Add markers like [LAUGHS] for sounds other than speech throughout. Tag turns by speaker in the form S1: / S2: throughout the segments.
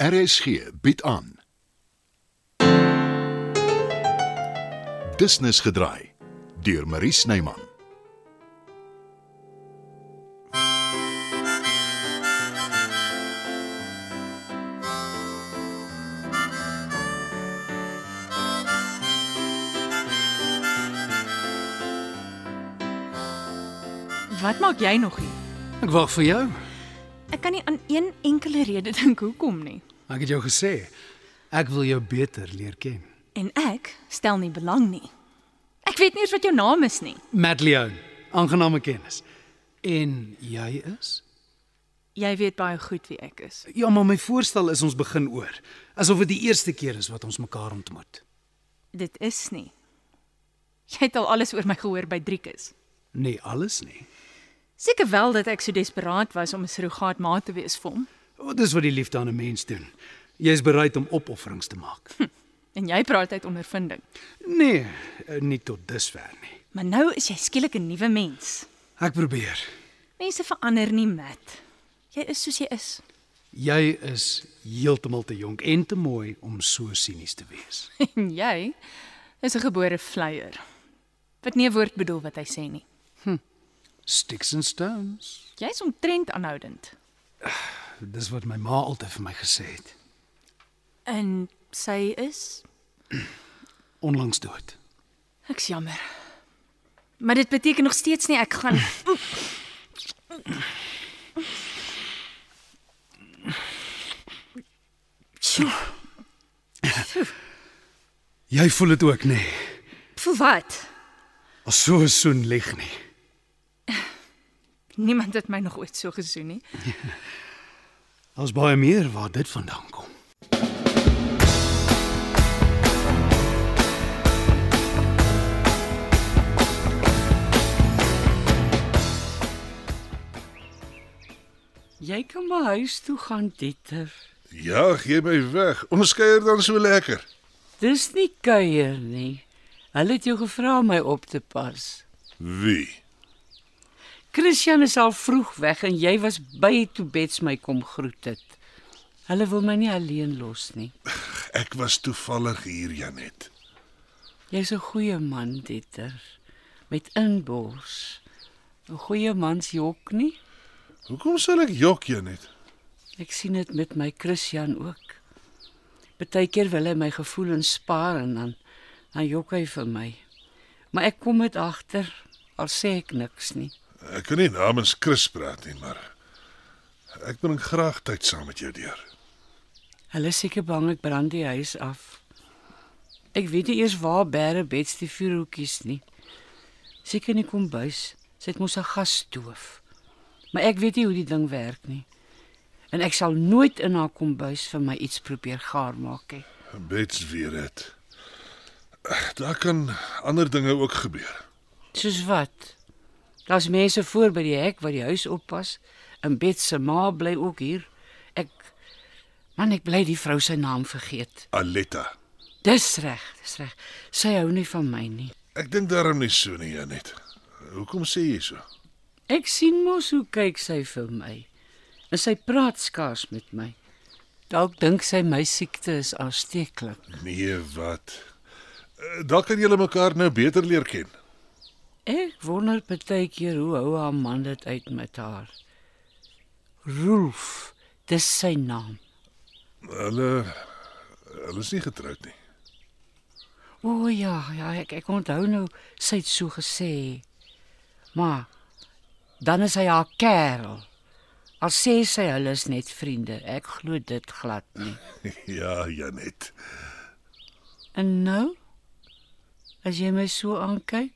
S1: RSG bied aan. Business gedraai deur Marie Snyman.
S2: Wat maak jy nog hier?
S3: Ek wag vir jou.
S2: Ek kan nie aan een enkele rede [LAUGHS] dink hoekom nie.
S3: Ek het jou gesê ek wil jou beter leer ken.
S2: En ek stel nie belang nie. Ek weet nie eens wat jou naam is nie.
S3: Matt Leon, aangename kennis. En jy is?
S2: Jy weet baie goed wie ek is.
S3: Ja, maar my voorstel is ons begin oor, asof dit die eerste keer is wat ons mekaar ontmoet.
S2: Dit is nie. Jy het al alles oor my gehoor by Driekus.
S3: Nee, alles nie.
S2: Seker wel dat ek so desperaat was om 'n surrogaatma te wees vir hom.
S3: Wat is wat die liefde aan 'n mens doen? Jy is bereid om opofferings te maak.
S2: En jy praat uit ondervinding.
S3: Nee, eh, nie tot dusver nie.
S2: Maar nou is jy skielik 'n nuwe mens.
S3: Ek probeer.
S2: Mense verander nie, Matt. Jy is soos jy is. [LAUGHS]
S3: Jy is heeltemal te jonk en te mooi om so sinies te wees.
S2: En jy is 'n gebore flyer. Wat nie 'n woord bedoel wat hy sê nie.
S3: Sticks and stones.
S2: Jy's omtrent aanhoudend.
S3: Dis wat my ma altyd vir my gesê het.
S2: En sy is
S3: Onlangs dood.
S2: ek's jammer. Maar dit beteken nog steeds nie ek [LAUGHS] gaan Sjoe,
S3: Jy voel dit ook nie.
S2: vir wat?
S3: As so 'n soen lig nie.
S2: Niemand het my nog ooit so gesoen nie.
S3: Daar's baie meer waar dit vandaan kom.
S4: Jy kan maar huis toe gaan, Dieter.
S5: Ja, gee my weg. Ons kuier dan so lekker.
S4: Dis nie kuier nie. Hulle het jou gevra om my op te pas.
S5: Wie?
S4: Christian is al vroeg weg en jy was by toe Bets my kom groet het. Hulle wil my nie alleen los nie.
S5: Ek was toevallig hier, Janet.
S4: Jy's 'n goeie man, Dieter. Met inbors. 'n Goeie man se jok nie.
S5: Hoekom sal ek jok, Janet?
S4: Ek sien dit met my Christian ook. Partykeer wil hy my gevoelens spaar en dan dan jok hy vir my. Maar ek kom dit agter al sê ek niks nie.
S5: Ek kan nie namens Chris praat nie, maar ek bring graag tyd saam met jou deur.
S4: Hulle is seker bang ek brand die huis af. Ek weet nie eers waar bære beds die vuurhoekies nie. Seker in die kombuis. Sy het mos 'n gasstoof. Maar ek weet nie hoe die ding werk nie. En ek sal nooit in haar kombuis vir my iets probeer gaar maak nie.
S5: Bets weer dit. Daar kan ander dinge ook gebeur.
S4: Soos wat? Daar's mense voor by die hek wat die huis oppas. En Bet se ma bly ook hier. Ek man, ek bly die vrou se naam vergeet.
S5: Aletta.
S4: Dis reg, dis reg. Sy hou nie van my nie.
S5: Ek dink daarom nie so nie, Janet. Hoekom sê jy so?
S4: Ek sien mos hoe kyk sy vir my. En sy praat skaars met my. Dalk dink sy my siekte is aansteeklik.
S5: Nee, wat? Dalk kan julle mekaar nou beter leer ken.
S4: Ek wonder baie keer hoe hou haar man dit uit met haar. Rolf, dis sy naam.
S5: Hulle hulle is nie getroud nie. [LAUGHS]
S4: O ja, ja, ek ek onthou nou sy het so gesê. Maar dan is hy haar kerel. Al sê sy hulle is net vriende. Ek glo dit glad nie.
S5: Ja, Janet.
S4: En nou? As jy my so aankyk,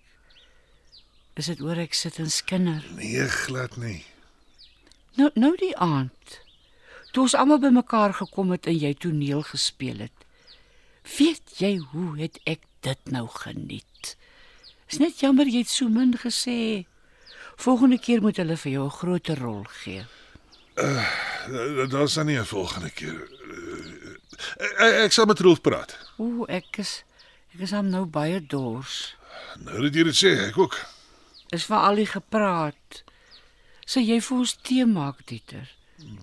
S4: is dit oor ek sit en skinder.
S5: Nee, glad nie.
S4: Nou nou die aand. Toe ons almal bymekaar gekom het en jy toneel gespeel het. Weet jy hoe het ek dit nou geniet? Is net jammer jy het so min gesê. Volgende keer moet hulle vir jou 'n groter rol gee.
S5: Daar's dan Eh, nie 'n volgende keer. Eh, Ek, ek sal met Rolf praat.
S4: O, ek is ek is hom nou baie dors.
S5: Nou dat jy dit sê, ek ook.
S4: Is vir al die gepraat. Sê jy vir ons tee maak, Dieter?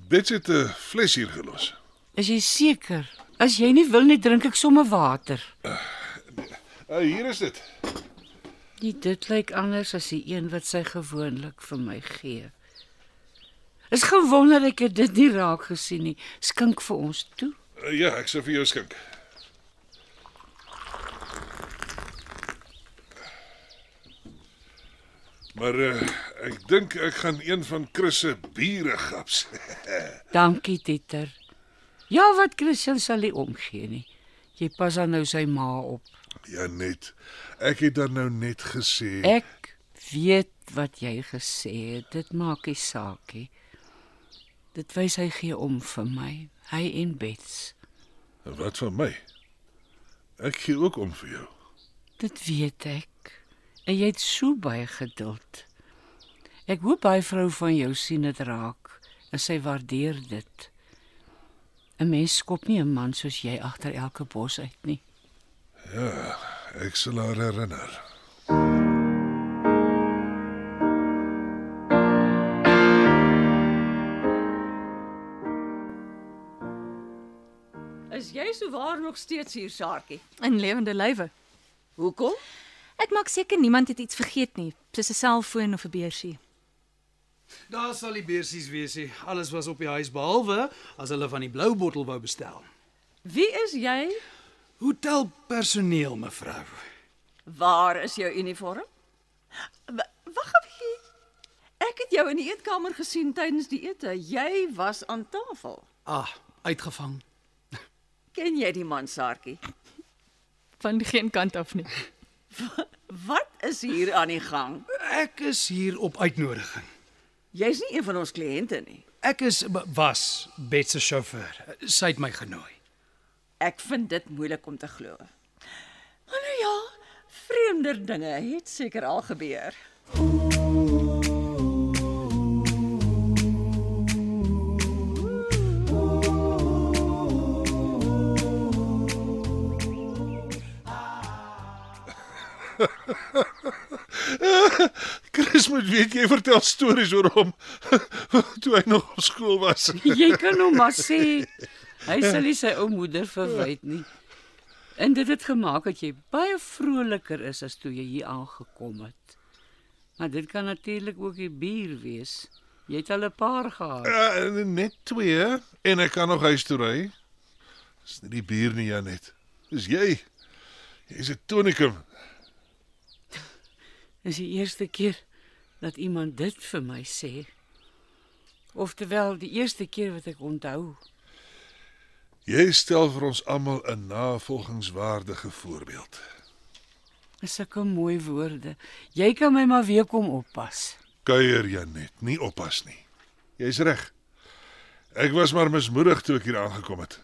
S5: Bets het 'n fles hier gelos.
S4: Is jy seker? As jy nie wil nie, drink ek sommer water.
S5: Uh, hier is dit.
S4: Nee, dit lyk anders as die een wat sy gewoonlik vir my gee. Is gewonder ek het dit nie raak gesien nie. Skink vir ons toe.
S5: Uh, ja, ek sal vir jou skink. Maar uh, ek dink ek gaan een van Chris se biere gaps. [LAUGHS]
S4: Dankie, Titer. Ja, wat Christian sal nie omgee nie. Jy pas dan nou sy ma op.
S5: ja net. Ek het dan nou net gesê.
S4: Ek weet wat jy gesê het. Dit maak nie saak nie. Dit wys hy gee om vir my, hy en Bets.
S5: Wat van my? Ek gee ook om vir jou.
S4: Dit weet ek. En jy het so baie geduld. Ek hoop hy vrou van jou sien dit raak en sy waardeer dit. 'n Mens skop nie 'n man soos jy agter elke bos uit nie.
S5: Ek sal haar herinner.
S6: Is jy souwaar nog steeds hier, Saartjie?
S2: In lewende lywe.
S6: Hoekom?
S2: Ek maak seker niemand het iets vergeet nie, soos 'n selfoon of 'n beursie.
S3: Daar sal die beursies wees. nie. Alles was op die huis behalwe as hulle van die blou bottel wou bestel.
S6: Wie is jy?
S3: Hotelpersoneel, mevrou.
S6: Waar is jou uniform? W- Wag 'n bietjie. Ek het jou in die eetkamer gesien tydens die ete. Jy was aan tafel.
S3: Ah, uitgevang.
S6: Ken jy die man, Saartjie?
S2: Van geen kant af nie.
S6: Wat is hier aan die gang?
S3: Ek is hier op uitnodiging.
S6: Jy's nie een van ons nee. kliënte nie.
S3: Ek is b- was Bet se sjofeur. Sy het my genooi.
S6: Ek vind dit moeilik om te glo. Maar nou ja, vreemder dinge het seker al gebeur.
S5: Chris moet weet jy vertel stories oor hom [LAUGHS] toe hy nog op skool was.
S4: [LAUGHS] Jy kan hom maar sê hy sal nie sy ou moeder verwyd nie. En dit het gemaak dat jy baie vroliker is as toe jy hier aangekom het. Maar dit kan natuurlik ook die bier wees. Jy het al 'n paar gehad.
S5: Uh, net twee en ek kan nog huis toe ry. Dis nie die bier nie Janet. Dis jy. Jy's 'n tonikum.
S4: Dis die eerste keer dat iemand dit vir my sê. Oftewel die eerste keer wat ek onthou.
S5: Jy stel vir ons almal 'n navolgingswaardige voorbeeld.
S4: Dis sulke mooi woorde. Jy kan my maar weer kom oppas.
S5: Kuier Janet, nie oppas nie. Jy's reg. Ek was maar mismoedig toe ek hier aangekom het.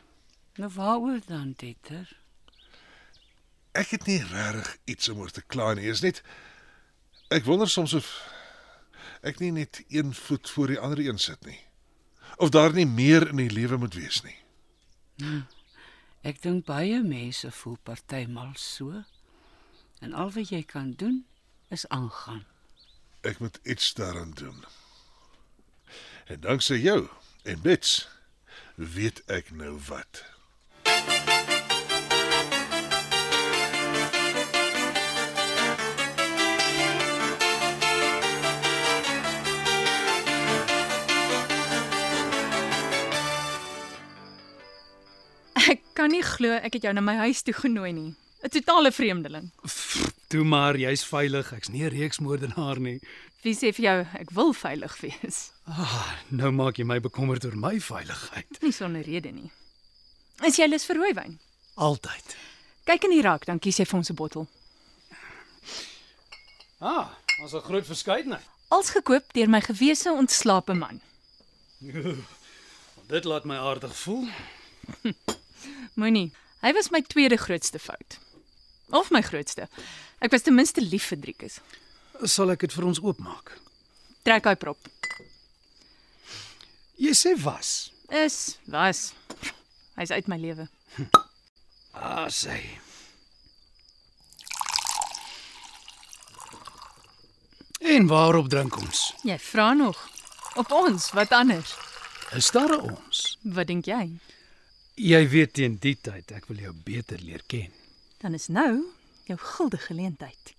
S4: Nou waaroor dan, Tetter?
S5: Ek het nie regtig iets om oor te kla nie. Is net ek wonder soms of ek nie net een voet voor die ander een sit nie. Of daar nie meer in die lewe moet wees nie.
S4: Ek dink baie mense voel partymal so. En al wat jy kan doen is aangaan.
S5: Ek moet iets daaraan doen. En danksy jou en Bets weet ek nou wat.
S2: [LAUGHS] Ek kan nie glo ek het jou na my huis toe genooi nie. 'n Totale vreemdeling.
S3: Toe maar, jy's veilig. Ek's nie 'n reeksmoordenaar nie.
S2: Wie sê vir jou ek wil veilig wees? [LAUGHS]
S3: Ah, nou maak jy my bekommerd oor my veiligheid.
S2: Nie sonder rede nie. Is jy lus vir rooiwyn?
S3: Altyd.
S2: Kyk in die rak, dan kies jy vir ons 'n bottel.
S3: Ah, ons 'n groot verskeidenheid.
S2: Als gekoop deur my gewese ontslape man.
S3: Dit laat my aardig voel.
S2: Moenie. Hy was my tweede grootste fout. Of my grootste. Ek was ten minste lief vir Driekus.
S3: Sal ek dit vir ons oopmaak?
S2: Trek hy prop.
S3: Jy sê was.
S2: Is was. Hy's uit my lewe.
S3: Ah, sê. En waarop drink ons?
S2: Jy vra nog. Op ons, wat anders?
S3: Is daar 'n ons?
S2: Wat dink jy?
S3: Jy weet teen die tyd ek wil jou beter leer ken.
S2: Dan is nou jou guldige geleentheid.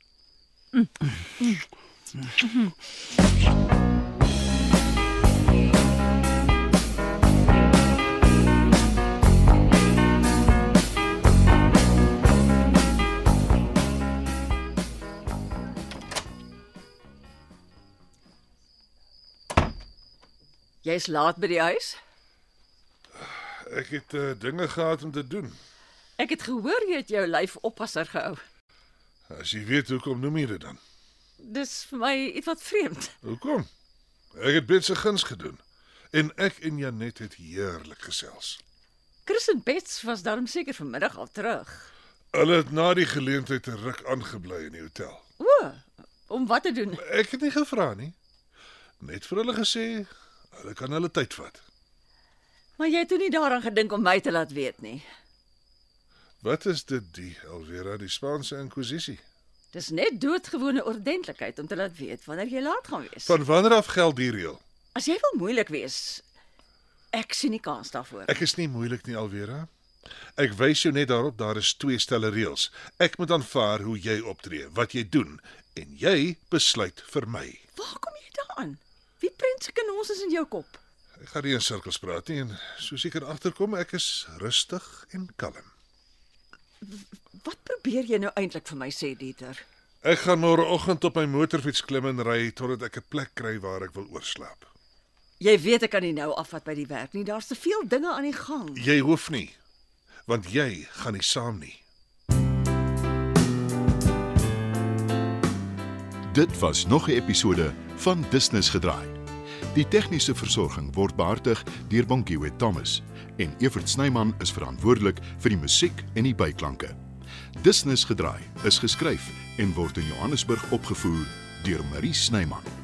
S6: Jy's laat by die huis.
S5: Ek het uh, dinge gehad om te doen.
S6: Ek het gehoor jy het jou lyf oppasser gehou.
S5: As jy weet hoekom noem jy dit dan?
S6: Dis vir my ietwat vreemd.
S5: Hoekom? Ek het Bets se guns gedoen en ek en Janet het heerlik gesels.
S6: Chris en Bets was daarom seker vanmiddag al terug.
S5: Hulle het na die geleentheid 'n ruk aangebly in die hotel.
S6: O, om wat te doen?
S5: Ek het nie gevra nie. Net vir hulle gesê hulle kan hulle tyd vat.
S6: Maar jy het toe nie daaraan gedink om my te laat weet nie.
S5: Wat is dit die Alvera die Spaanse inkwisisie?
S6: Dis net doodgewone ordentlikheid om te laat weet wanneer jy laat gaan wees.
S5: Van wanneer af geld die reël?
S6: As jy wil moeilik wees, ek sien nie kans daarvoor.
S5: Ek is nie moeilik nie Alvera. Ek wys jou net daarop daar is twee stelle reëls. Ek moet aanvaar hoe jy optree, wat jy doen en jy besluit vir my.
S6: Waar kom jy daaraan? Wie prins se kanons is in jou kop?
S5: Ek gaan nie in sirkels praat nie en soos jy kan agterkom, ek is rustig en kalm.
S6: Wat probeer jy nou eintlik vir my sê, Dieter?
S5: Ek gaan môreoggend op my motorfiets klim en ry totdat ek 'n plek kry waar ek wil oorslaap.
S6: Jy weet ek kan nie nou afvat by die werk nie. Daar's te veel dinge aan die gang.
S5: Jy hoef nie, want jy gaan nie saam nie.
S1: Dit was nog 'n episode van Business gedraai. Die tegniese versorging word behartig deur Bonnie Witt Thomas en Evert Snyman is verantwoordelik vir die musiek en die byklanke. Business gedraai is geskryf en word in Johannesburg opgevoer deur Marie Snyman.